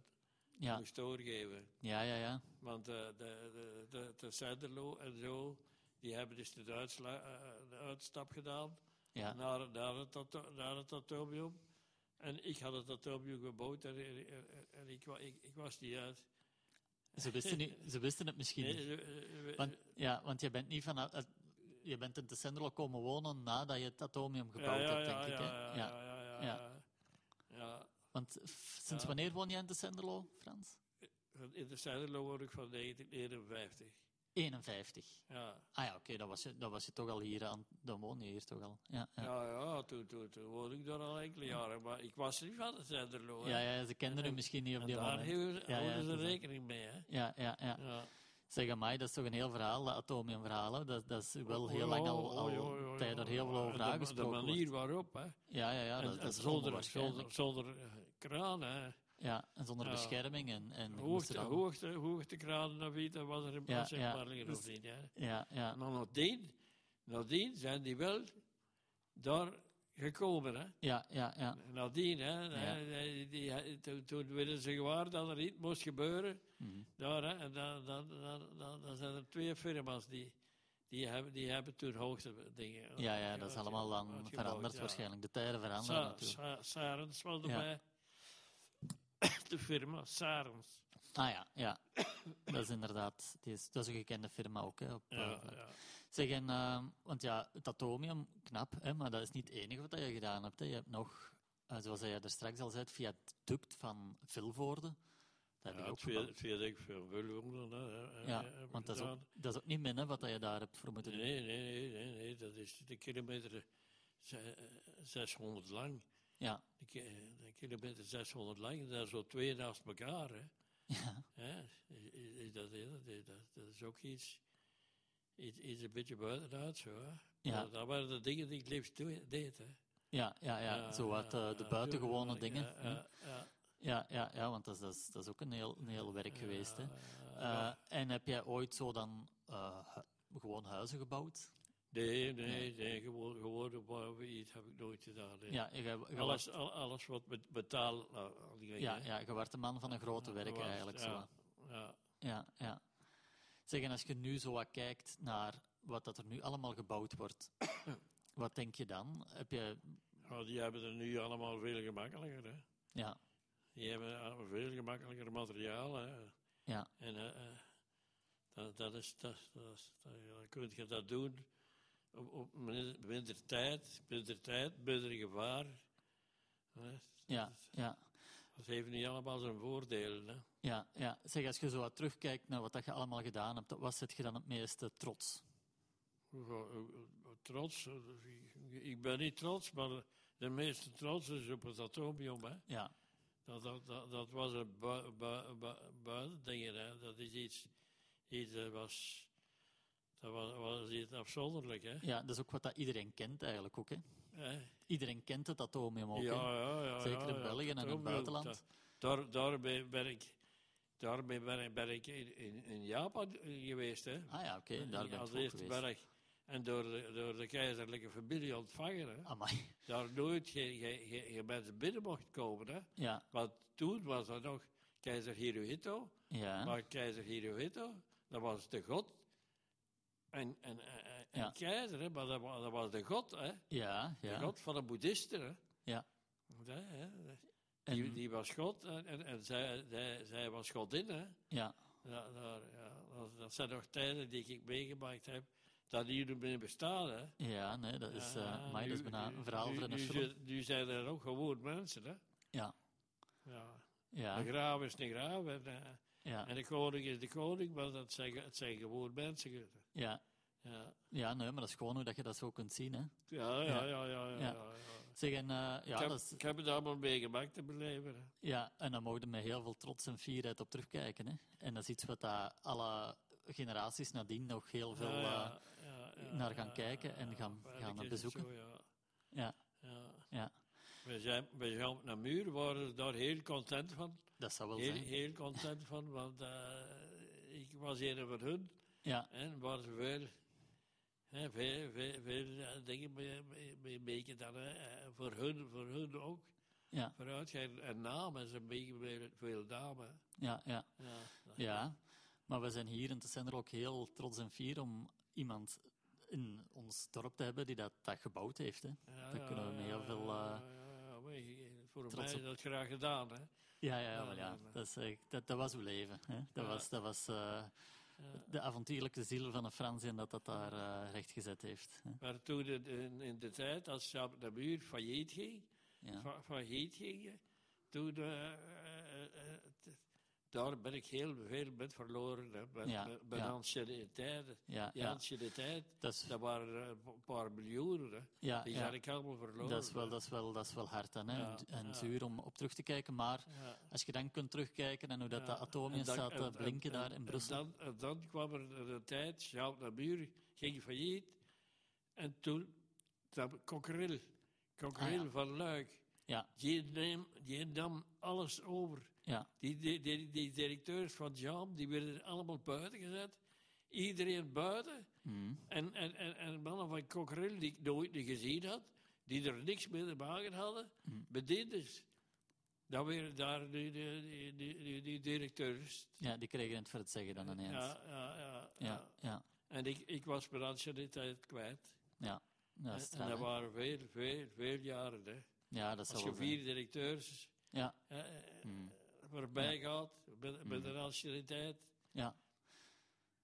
[SPEAKER 1] Ja.
[SPEAKER 2] moest doorgeven.
[SPEAKER 1] Ja, ja, ja.
[SPEAKER 2] Want eh, de, de, de, de Senderlo en zo, die hebben dus de, uitsla- eh, de uitstap gedaan
[SPEAKER 1] Ja,
[SPEAKER 2] naar, naar, het, ato- naar het atomium. En ik had het atomium gebouwd en, en, en- en ik, wa- ik, ik was niet uit.
[SPEAKER 1] ze wisten, nu, ze wisten het misschien
[SPEAKER 2] Nee,
[SPEAKER 1] niet.
[SPEAKER 2] eh, eh,
[SPEAKER 1] dus Want, ja, want je bent niet van... eh, Je bent in de Senderlo komen wonen nadat je het atomium
[SPEAKER 2] ja,
[SPEAKER 1] gebouwd
[SPEAKER 2] ja,
[SPEAKER 1] hebt,
[SPEAKER 2] ja,
[SPEAKER 1] denk ik. hè?
[SPEAKER 2] ja, ja, ja, ja, ja. Ja,
[SPEAKER 1] Want f- sinds
[SPEAKER 2] Ja.
[SPEAKER 1] wanneer woon jij in de Senderlo, Frans?
[SPEAKER 2] want in de Senderlo word ik van 1951.
[SPEAKER 1] 51.
[SPEAKER 2] Ja,
[SPEAKER 1] Ah ja, oké, dan, was je- dan was je toch al hier aan... Dan woon je hier toch al. Ja, ja.
[SPEAKER 2] ja, ja toen, toen, toen woonde ik daar al enkele jaren. Maar ik was niet van de Senderlo. hè.
[SPEAKER 1] Ja, ja, ze kenden u
[SPEAKER 2] En-
[SPEAKER 1] misschien niet op
[SPEAKER 2] En
[SPEAKER 1] die
[SPEAKER 2] daar
[SPEAKER 1] moment.
[SPEAKER 2] hielden
[SPEAKER 1] Ja, ja,
[SPEAKER 2] houden ze
[SPEAKER 1] dat is waar.
[SPEAKER 2] rekening mee, hè.
[SPEAKER 1] Ja, ja, ja.
[SPEAKER 2] Ja.
[SPEAKER 1] Zeg mij, dat is toch een heel verhaal, dat atomiumverhaal. hè? Dat, dat is wel
[SPEAKER 2] Oh,
[SPEAKER 1] heel lang al, al dat je daar heel veel over
[SPEAKER 2] En oh, de-
[SPEAKER 1] aangesproken
[SPEAKER 2] De
[SPEAKER 1] wordt.
[SPEAKER 2] manier waarop, hè.
[SPEAKER 1] Ja, ja, ja,
[SPEAKER 2] en,
[SPEAKER 1] dat,
[SPEAKER 2] en
[SPEAKER 1] dat is
[SPEAKER 2] zonder,
[SPEAKER 1] onwaarschijnlijk.
[SPEAKER 2] zonder, zonder eh, kraan, hè.
[SPEAKER 1] Ja, en zonder
[SPEAKER 2] Ja.
[SPEAKER 1] bescherming. En, en je moest
[SPEAKER 2] Hoogte,
[SPEAKER 1] er dan-
[SPEAKER 2] hoogte, hoogtekranen of iets, dat was er in
[SPEAKER 1] Ja,
[SPEAKER 2] plaats
[SPEAKER 1] ja,
[SPEAKER 2] maar liggen of
[SPEAKER 1] dus-
[SPEAKER 2] niet, hè.
[SPEAKER 1] Ja, ja,
[SPEAKER 2] Maar nadien, nadien zijn die wel daar gekomen, hè.
[SPEAKER 1] ja, ja, ja.
[SPEAKER 2] Nadien, hè. Die, die- toen, toen werden ze gewaar dat er iets moest gebeuren.
[SPEAKER 1] Mhm.
[SPEAKER 2] Daar, hè, en dan, dan, dan, dan, dan zijn er twee firma's die, die, hebben, die hebben toen hoogste dingen.
[SPEAKER 1] Ja, ja, dat is
[SPEAKER 2] uitge-
[SPEAKER 1] allemaal dan
[SPEAKER 2] uitgebouwd,
[SPEAKER 1] veranderd
[SPEAKER 2] ja.
[SPEAKER 1] waarschijnlijk. De tijden veranderen
[SPEAKER 2] Sa-
[SPEAKER 1] natuurlijk.
[SPEAKER 2] Sa- Sarens was
[SPEAKER 1] Ja.
[SPEAKER 2] erbij. (coughs) De firma Sarens.
[SPEAKER 1] Ah ja, ja. dat is inderdaad, die is, dat is een gekende firma ook. Hè, op, eh,
[SPEAKER 2] Ja,
[SPEAKER 1] vlak.
[SPEAKER 2] ja.
[SPEAKER 1] Zeg, en, ehm, want ja, het atomium, knap, hè, maar dat is niet het enige wat je gedaan hebt. Hè. Je hebt nog, eh, zoals jij er straks al zei, het viaduct van Vilvoorde. Dat heb
[SPEAKER 2] Ja,
[SPEAKER 1] ik ook
[SPEAKER 2] het vierde-
[SPEAKER 1] gedaan.
[SPEAKER 2] het vierde ik veel Wilhelmden, hè, hè,
[SPEAKER 1] Ja,
[SPEAKER 2] heb ik
[SPEAKER 1] want dat is, ook,
[SPEAKER 2] gedaan.
[SPEAKER 1] dat is ook niet min hè, wat je daar hebt voor moeten doen.
[SPEAKER 2] Nee, nee, nee, nee, nee, dat is de kilometer ze- eh, 600 lang.
[SPEAKER 1] Ja,
[SPEAKER 2] De ki- eh, de kilometer 600 lang, dat is zo twee naast elkaar. Hè.
[SPEAKER 1] (laughs) ja,
[SPEAKER 2] Hè? Is, is- is dat, is dat, is dat, dat is ook iets, iets, iets een beetje buitenuit zo. Hè?
[SPEAKER 1] ja,
[SPEAKER 2] Dat, dat waren de dingen die ik liefst doe- deed. Hè?
[SPEAKER 1] ja, ja, ja,
[SPEAKER 2] Eh,
[SPEAKER 1] zo uit eh,
[SPEAKER 2] eh,
[SPEAKER 1] de
[SPEAKER 2] eh,
[SPEAKER 1] buitengewone
[SPEAKER 2] tuurlijk,
[SPEAKER 1] dingen. Hm.
[SPEAKER 2] eh,
[SPEAKER 1] hè.
[SPEAKER 2] eh, eh,
[SPEAKER 1] Ja, ja, ja, want dat is, dat is, dat is ook een heel, een heel werk
[SPEAKER 2] eh,
[SPEAKER 1] geweest. Hè.
[SPEAKER 2] eh,
[SPEAKER 1] Eh, en heb jij ooit zo dan eh, hu- gewoon huizen gebouwd?
[SPEAKER 2] nee, nee, nee, gewoon, gewoon op waar iets heb ik nooit gedaan. nee.
[SPEAKER 1] Ja, je, je was,
[SPEAKER 2] alles, al- alles wat met betaal. aan die dingen,
[SPEAKER 1] ja,
[SPEAKER 2] hè.
[SPEAKER 1] ja, je werd de man van een grote
[SPEAKER 2] Eh,
[SPEAKER 1] werken
[SPEAKER 2] was-
[SPEAKER 1] eigenlijk. Zo. hè.
[SPEAKER 2] Ja, ja.
[SPEAKER 1] Ja, ja. Zeg, en als je nu zo wat kijkt naar wat dat er nu allemaal gebouwd
[SPEAKER 2] (coughs)
[SPEAKER 1] wordt, wat denk je dan? Heb je...
[SPEAKER 2] Nou, die hebben er nu allemaal veel gemakkelijker. Hè?
[SPEAKER 1] Ja,
[SPEAKER 2] Die hebben al- veel gemakkelijker materiaal. Hè.
[SPEAKER 1] Ja.
[SPEAKER 2] En eh, eh, dat, dat is, dat, dat is, dat, dan kun je dat doen op, op min- minder tijd, minder tijd, minder gevaar. Hè.
[SPEAKER 1] ja, ja.
[SPEAKER 2] Dat heeft niet allemaal zijn voordelen. Hè.
[SPEAKER 1] Ja, ja. Zeg, als je zo wat terugkijkt naar wat dat je allemaal gedaan hebt, op wat zit je dan het meeste trots?
[SPEAKER 2] Hoe ga- hoe- hoe- Trots, eh, ik- ik ben niet trots, maar de meeste trots is op het atomium. Hè.
[SPEAKER 1] Ja,
[SPEAKER 2] Dat, dat, dat, dat was een bui- bui- bui- buitendingen, hè. Dat is iets, iets dat was, dat was, was iets afzonderlijk, hè.
[SPEAKER 1] ja dat is ook wat dat iedereen kent eigenlijk ook. Hè?
[SPEAKER 2] Hè?
[SPEAKER 1] Iedereen kent het atomium ook. hè.
[SPEAKER 2] ja, ja.
[SPEAKER 1] Zeker in
[SPEAKER 2] ja,
[SPEAKER 1] België en in
[SPEAKER 2] dat
[SPEAKER 1] het
[SPEAKER 2] ook.
[SPEAKER 1] buitenland.
[SPEAKER 2] Da- Daar, daarmee ben ik, daarmee ben ik, ben ik in, in, in Japan geweest, hè.
[SPEAKER 1] Ah ja, oké, daar ben ik
[SPEAKER 2] Als
[SPEAKER 1] voor
[SPEAKER 2] eerste
[SPEAKER 1] geweest.
[SPEAKER 2] ben ik en door de, door de keizerlijke familie ontvangen, hè.
[SPEAKER 1] Amai.
[SPEAKER 2] Daar nooit geen geen- geen- geen mensen binnen mocht komen, hè.
[SPEAKER 1] Ja,
[SPEAKER 2] Want toen was er nog keizer Hirohito...
[SPEAKER 1] ja,
[SPEAKER 2] Maar keizer Hirohito, dat was de god. En, en, en, en
[SPEAKER 1] Ja.
[SPEAKER 2] keizer, hè, maar dat, wa- dat was de god, hè.
[SPEAKER 1] ja,
[SPEAKER 2] De
[SPEAKER 1] ja.
[SPEAKER 2] god van de boeddhisten, hè.
[SPEAKER 1] Ja.
[SPEAKER 2] Ja, hè. Die,
[SPEAKER 1] En,
[SPEAKER 2] die was god en, en, en zij, zij, zij was godin, hè.
[SPEAKER 1] ja,
[SPEAKER 2] Ja, daar, ja, dat, dat zijn nog tijden die ik meegemaakt heb, dat die er meer bestaan, hè.
[SPEAKER 1] ja, nee, dat is, eh,
[SPEAKER 2] Ja,
[SPEAKER 1] amai, dat is
[SPEAKER 2] Ah, nu-
[SPEAKER 1] bijna
[SPEAKER 2] nu-
[SPEAKER 1] een verhaal
[SPEAKER 2] nu-
[SPEAKER 1] voor een
[SPEAKER 2] nu
[SPEAKER 1] film.
[SPEAKER 2] zijn- Nu zijn er ook gewoon mensen, hè.
[SPEAKER 1] Ja.
[SPEAKER 2] Ja.
[SPEAKER 1] Ja,
[SPEAKER 2] Een graaf is een graaf en, eh,
[SPEAKER 1] ja,
[SPEAKER 2] en de koning is de koning, maar dat zijn, het zijn gewoon mensen.
[SPEAKER 1] ja.
[SPEAKER 2] Ja.
[SPEAKER 1] Ja, nee, maar dat is gewoon hoe dat je dat zo kunt zien. Hè.
[SPEAKER 2] Ja, ja,
[SPEAKER 1] Ja.
[SPEAKER 2] ja, ja. ja,
[SPEAKER 1] Ja.
[SPEAKER 2] ja, ja.
[SPEAKER 1] Zeg, en, eh,
[SPEAKER 2] ik,
[SPEAKER 1] ja,
[SPEAKER 2] heb,
[SPEAKER 1] dat is,
[SPEAKER 2] ik heb het allemaal meegemaakt in mijn leven. hè.
[SPEAKER 1] Ja, en daar mogen we met heel veel trots en fierheid op terugkijken. Hè? En dat is iets wat dat alle generaties nadien nog heel veel...
[SPEAKER 2] Ja,
[SPEAKER 1] eh, Ja,
[SPEAKER 2] ja, ja, ja,
[SPEAKER 1] naar
[SPEAKER 2] ja,
[SPEAKER 1] gaan
[SPEAKER 2] ja,
[SPEAKER 1] kijken
[SPEAKER 2] ja,
[SPEAKER 1] en
[SPEAKER 2] ja.
[SPEAKER 1] gaan-
[SPEAKER 2] Eigenlijk
[SPEAKER 1] gaan
[SPEAKER 2] is het
[SPEAKER 1] bezoeken.
[SPEAKER 2] zo, ja.
[SPEAKER 1] Ja.
[SPEAKER 2] ja.
[SPEAKER 1] Ja.
[SPEAKER 2] We zijn, we zijn op een muur, waren we daar heel content van.
[SPEAKER 1] dat zou wel
[SPEAKER 2] Heel,
[SPEAKER 1] zijn.
[SPEAKER 2] heel content van, want eh, ik was een van hun.
[SPEAKER 1] Ja,
[SPEAKER 2] En was veel, hè, veel, veel, veel eh, dingen mee, mee, mee meegedaan, hè, eh, Voor hun, voor hun ook.
[SPEAKER 1] Ja,
[SPEAKER 2] Vooruitgang en namen is een beetje meer veel namen.
[SPEAKER 1] ja, ja.
[SPEAKER 2] Ja, dat-
[SPEAKER 1] Ja, maar we zijn hier in Tessender ook heel trots en fier om iemand in ons dorp te hebben die dat, dat gebouwd heeft. Hè.
[SPEAKER 2] Ja,
[SPEAKER 1] daar kunnen we met heel veel, eh,
[SPEAKER 2] ja, ja, ja, maar je- voor
[SPEAKER 1] trots
[SPEAKER 2] mij is
[SPEAKER 1] op-
[SPEAKER 2] dat graag gedaan. Hè?
[SPEAKER 1] Ja, ja,
[SPEAKER 2] Ja,
[SPEAKER 1] wel ja.
[SPEAKER 2] maar-
[SPEAKER 1] Dat, is, echt- dat, dat was uw leven. Hè. Dat
[SPEAKER 2] Ja.
[SPEAKER 1] was, dat was eh,
[SPEAKER 2] Ja.
[SPEAKER 1] de avontuurlijke ziel van een Frans en dat dat daar eh, rechtgezet heeft. Hè.
[SPEAKER 2] Maar toen het in, in de tijd, als Saab de Muur failliet ging,
[SPEAKER 1] Ja.
[SPEAKER 2] fa- failliet ging toen, eh, eh, eh, t- daar ben ik heel veel met verloren. Hè, met,
[SPEAKER 1] Ja,
[SPEAKER 2] met, met
[SPEAKER 1] ja.
[SPEAKER 2] anciëniteit.
[SPEAKER 1] Ja,
[SPEAKER 2] Die
[SPEAKER 1] ja.
[SPEAKER 2] anciëniteit,
[SPEAKER 1] Dat is,
[SPEAKER 2] dat waren eh, een paar miljoenen. Hè.
[SPEAKER 1] ja,
[SPEAKER 2] Die
[SPEAKER 1] Ah, ja.
[SPEAKER 2] zijn ik allemaal verloren.
[SPEAKER 1] Dat, is wel, dat, is wel, dat is wel hard dan, hè.
[SPEAKER 2] Ja,
[SPEAKER 1] en, en
[SPEAKER 2] ja.
[SPEAKER 1] zuur om op terug te kijken. Maar
[SPEAKER 2] Ja.
[SPEAKER 1] als je dan kunt terugkijken en hoe dat,
[SPEAKER 2] Ja,
[SPEAKER 1] dat atomium
[SPEAKER 2] en dan-
[SPEAKER 1] staat
[SPEAKER 2] en-
[SPEAKER 1] te
[SPEAKER 2] en-
[SPEAKER 1] blinken
[SPEAKER 2] en-
[SPEAKER 1] daar in Brussel.
[SPEAKER 2] En dan, en dan kwam er een tijd, Sjaal Nabuur ging failliet. En toen, dan Kokkeril, Kokkeril
[SPEAKER 1] Ah, ja.
[SPEAKER 2] van Luik,
[SPEAKER 1] Ja.
[SPEAKER 2] die, neem, die nam alles over.
[SPEAKER 1] Ja.
[SPEAKER 2] Die, die, die, die directeurs van Jaam, die werden allemaal buiten gezet. Iedereen buiten.
[SPEAKER 1] Mhm.
[SPEAKER 2] En, en, en, en mannen van Kokkeril, die ik nooit niet gezien had, die er niks mee te maken hadden,
[SPEAKER 1] Mm.
[SPEAKER 2] bedienders. Dan werden daar nu de die, die, die, die directeurs.
[SPEAKER 1] Ja, die kregen het voor het zeggen dan ineens. Ja,
[SPEAKER 2] Ja, ja, ja,
[SPEAKER 1] ja,
[SPEAKER 2] ja.
[SPEAKER 1] ja.
[SPEAKER 2] En ik, ik was mijn anciëniteit kwijt.
[SPEAKER 1] Dat
[SPEAKER 2] En-
[SPEAKER 1] is
[SPEAKER 2] en
[SPEAKER 1] straf,
[SPEAKER 2] dat
[SPEAKER 1] hè.
[SPEAKER 2] waren veel, veel, veel jaren. Hè.
[SPEAKER 1] Ja, dat
[SPEAKER 2] Als
[SPEAKER 1] zal
[SPEAKER 2] je
[SPEAKER 1] wel zijn.
[SPEAKER 2] vier directeurs
[SPEAKER 1] Ja.
[SPEAKER 2] eh, eh,
[SPEAKER 1] Mm.
[SPEAKER 2] voorbij gaat met, met
[SPEAKER 1] Mm.
[SPEAKER 2] een anciëniteit,
[SPEAKER 1] Ja.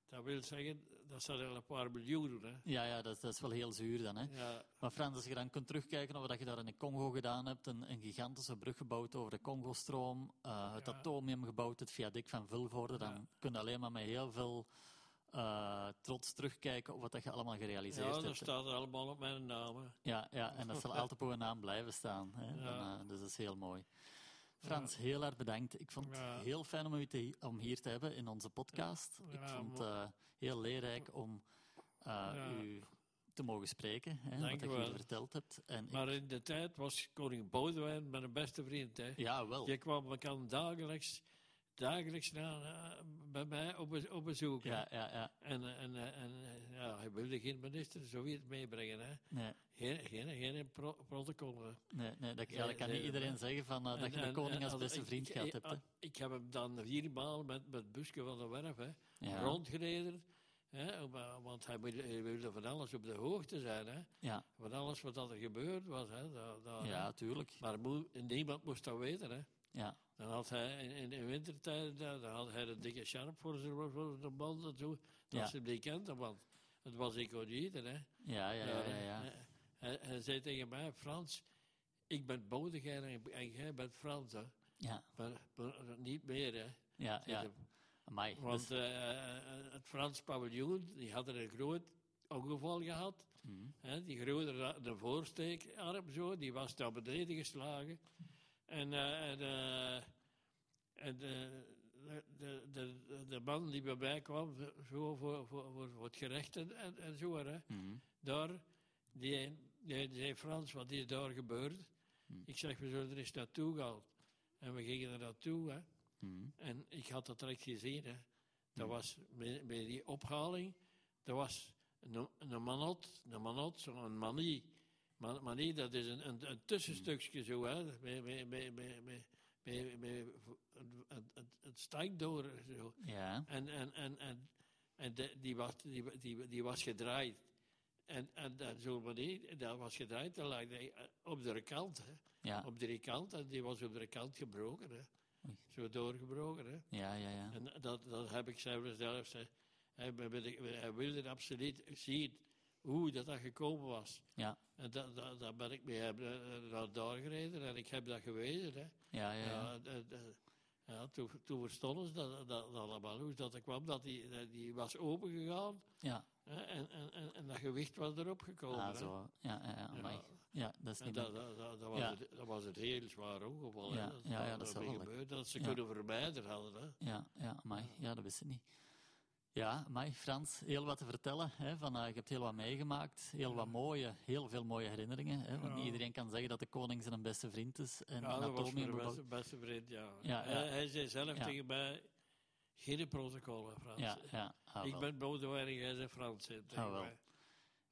[SPEAKER 2] dat wil zeggen, dat zijn er een paar miljoenen. Hè.
[SPEAKER 1] Ja, ja dat, is- dat is wel heel zuur dan. Hè?
[SPEAKER 2] Ja,
[SPEAKER 1] Maar Frans, als je dan kunt terugkijken op wat je daar in de Congo gedaan hebt, een, een gigantische brug gebouwd over de Congo-stroom, eh, het
[SPEAKER 2] Ja.
[SPEAKER 1] atomium gebouwd, het viaduct van Vilvoorde, dan
[SPEAKER 2] Ja.
[SPEAKER 1] kun je alleen maar met heel veel eh, trots terugkijken op wat dat je allemaal gerealiseerd
[SPEAKER 2] ja dat
[SPEAKER 1] hebt.
[SPEAKER 2] staat allemaal op mijn naam. hè.
[SPEAKER 1] Ja, ja, en dat zal altijd op een naam blijven staan. Hè?
[SPEAKER 2] Ja.
[SPEAKER 1] En, eh, dus dat is heel mooi. Frans, heel hard bedankt. Ik vond het
[SPEAKER 2] Ja.
[SPEAKER 1] heel fijn om u te, om hier te hebben in onze podcast. Ik
[SPEAKER 2] Ja,
[SPEAKER 1] vond het eh,
[SPEAKER 2] mo-
[SPEAKER 1] heel leerrijk om eh,
[SPEAKER 2] Ja.
[SPEAKER 1] u te mogen spreken, hè,
[SPEAKER 2] Dank
[SPEAKER 1] wat
[SPEAKER 2] u
[SPEAKER 1] dat je
[SPEAKER 2] wel.
[SPEAKER 1] hier verteld hebt. En ik,
[SPEAKER 2] Maar in de tijd was koning Boudewijn mijn beste vriend. Hè.
[SPEAKER 1] ja, wel.
[SPEAKER 2] Je kwam elkaar dagelijks, dagelijks naar, eh, bij mij op, be- op bezoek. hè.
[SPEAKER 1] Ja, ja, ja.
[SPEAKER 2] En, eh, en, eh, en eh, ja, hij wilde geen minister zoiets meebrengen. Hè.
[SPEAKER 1] Nee,
[SPEAKER 2] Geen, geen, geen pro protocol. hè.
[SPEAKER 1] nee, nee, dat, ja,
[SPEAKER 2] Ja,
[SPEAKER 1] dat kan
[SPEAKER 2] nee,
[SPEAKER 1] niet iedereen
[SPEAKER 2] maar-
[SPEAKER 1] zeggen van, eh, dat je
[SPEAKER 2] En-
[SPEAKER 1] de
[SPEAKER 2] en-
[SPEAKER 1] koning als
[SPEAKER 2] en-
[SPEAKER 1] beste
[SPEAKER 2] ik-
[SPEAKER 1] vriend
[SPEAKER 2] ik- eh,
[SPEAKER 1] gehad
[SPEAKER 2] ik-
[SPEAKER 1] hebt. hè.
[SPEAKER 2] Ik heb hem dan viermaal met, met Buske van de Werf hè,
[SPEAKER 1] Ja,
[SPEAKER 2] rondgereden. Hè, om, eh, want hij wilde, hij wilde van alles op de hoogte zijn. Hè,
[SPEAKER 1] ja,
[SPEAKER 2] van alles wat dat er gebeurd was. Hè, daar- daar, hè.
[SPEAKER 1] ja, tuurlijk.
[SPEAKER 2] Maar moe- niemand moest dat weten. Hè.
[SPEAKER 1] Ja,
[SPEAKER 2] Dan had hij in, in de wintertijd, eh, dan had hij de dikke sharp voor zijn, voor zijn band en zo. Dat
[SPEAKER 1] Ja.
[SPEAKER 2] ze hem niet kenden, want het was incognito, hè.
[SPEAKER 1] ja, ja, ja, ja. ja.
[SPEAKER 2] Hij, hij- hij zei tegen mij, Frans, ik ben Bodegein en, en jij bent Frans, hè.
[SPEAKER 1] Ja,
[SPEAKER 2] Maar, maar niet meer, hè.
[SPEAKER 1] ja,
[SPEAKER 2] zei
[SPEAKER 1] ja.
[SPEAKER 2] hij.
[SPEAKER 1] Amai, dus- dat
[SPEAKER 2] Want
[SPEAKER 1] is-
[SPEAKER 2] eh, het Frans paviljoen, die had er een groot ongeval gehad.
[SPEAKER 1] Mhm.
[SPEAKER 2] Hè, die grote ra- de voorsteekarm zo, die was naar beneden geslagen. En, eh, en, eh, en de, de, de, de man die bij mij kwam, zo voor, voor, voor, voor het gerecht en, en, en zo, hè,
[SPEAKER 1] Mhm.
[SPEAKER 2] daar, die, die zei, Frans, wat is daar gebeurd?
[SPEAKER 1] Hmm.
[SPEAKER 2] Ik zeg, we zullen er eens naartoe gaan. En we gingen er naartoe, hè.
[SPEAKER 1] Mhm.
[SPEAKER 2] En ik had dat direct gezien. Hè.
[SPEAKER 1] Hmm.
[SPEAKER 2] Dat was bij, bij die ophaling, dat was een, een manot, een manot, zo'n manie. Ma- Manie, dat is een, een, een tussenstukje zo, hè. Met, met, met, met, met, met, met het, het, het stank door, zo.
[SPEAKER 1] Ja,
[SPEAKER 2] En, en, en, en, en de- die, was, die, wa- die, wa- die was gedraaid. En, en dat, zo'n manier, dat was gedraaid, dat lag die, eh, op de kant. Hè.
[SPEAKER 1] ja,
[SPEAKER 2] Op de kant, en die was op de kant gebroken. Hè.
[SPEAKER 1] Oei.
[SPEAKER 2] Zo doorgebroken. Hè.
[SPEAKER 1] ja, ja, ja.
[SPEAKER 2] En dat, dat heb ik zelf zelfs. hè. Hij, ben- ben ik- hij wilde absoluut zien hoe dat, dat gekomen was.
[SPEAKER 1] Ja.
[SPEAKER 2] En daar dat, dat ben ik mee heb, eh, naar daar gereden en ik heb dat gewezen. Hè.
[SPEAKER 1] Ja, ja, ja.
[SPEAKER 2] Ja, de- de- ja, toen, toen verstonden ze dat, dat, dat allemaal. Hoe dat er kwam, dat die, dat die was opengegaan
[SPEAKER 1] Ja,
[SPEAKER 2] hè, en, en, en, en dat gewicht was erop gekomen.
[SPEAKER 1] ah,
[SPEAKER 2] hè.
[SPEAKER 1] zo. Ja, ja, ja,
[SPEAKER 2] Ja,
[SPEAKER 1] amai. ja, dat is
[SPEAKER 2] en
[SPEAKER 1] niet
[SPEAKER 2] dat,
[SPEAKER 1] meer.
[SPEAKER 2] dat, dat, dat was
[SPEAKER 1] Ja.
[SPEAKER 2] het, dat was het heel zwaar ongeval. hè.
[SPEAKER 1] Ja,
[SPEAKER 2] dat,
[SPEAKER 1] ja, ja, dat
[SPEAKER 2] mee
[SPEAKER 1] zal wel.
[SPEAKER 2] gebeurd, dat ze
[SPEAKER 1] Ja.
[SPEAKER 2] kunnen vermijden hadden. Hè.
[SPEAKER 1] Ja, ja, amai. Ja, dat wist ik niet. Ja, amai, Frans, heel wat te vertellen. Hè, van, eh, je hebt heel wat meegemaakt, heel wat mooie, heel veel mooie herinneringen. Hè, want
[SPEAKER 2] Ja.
[SPEAKER 1] niet iedereen kan zeggen dat de koning zijn beste vriend is. En
[SPEAKER 2] Ja,
[SPEAKER 1] een
[SPEAKER 2] dat was
[SPEAKER 1] atomium
[SPEAKER 2] mijn
[SPEAKER 1] bebouwt.
[SPEAKER 2] beste, beste vriend, ja.
[SPEAKER 1] Ja, ja.
[SPEAKER 2] Hij, hij zei zelf
[SPEAKER 1] Ja.
[SPEAKER 2] tegen mij, geen protocol, hè, Frans.
[SPEAKER 1] Ja, ja, ah,
[SPEAKER 2] ik
[SPEAKER 1] wel.
[SPEAKER 2] ben Baudouin en jij bent Frans. zei hij tegen
[SPEAKER 1] Ah, wel.
[SPEAKER 2] mij.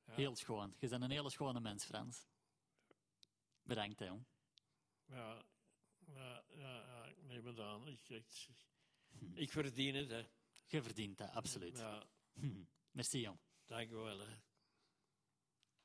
[SPEAKER 2] ja.
[SPEAKER 1] Heel schoon. Je bent een hele schone mens, Frans. Bedankt, hè, jong.
[SPEAKER 2] Ja, ja, ja, ja, ik neem het aan. Ik, ik, ik verdien het, hè.
[SPEAKER 1] Je verdient dat, absoluut.
[SPEAKER 2] Ja,
[SPEAKER 1] (laughs) Merci, Jan.
[SPEAKER 2] dank u wel, hè.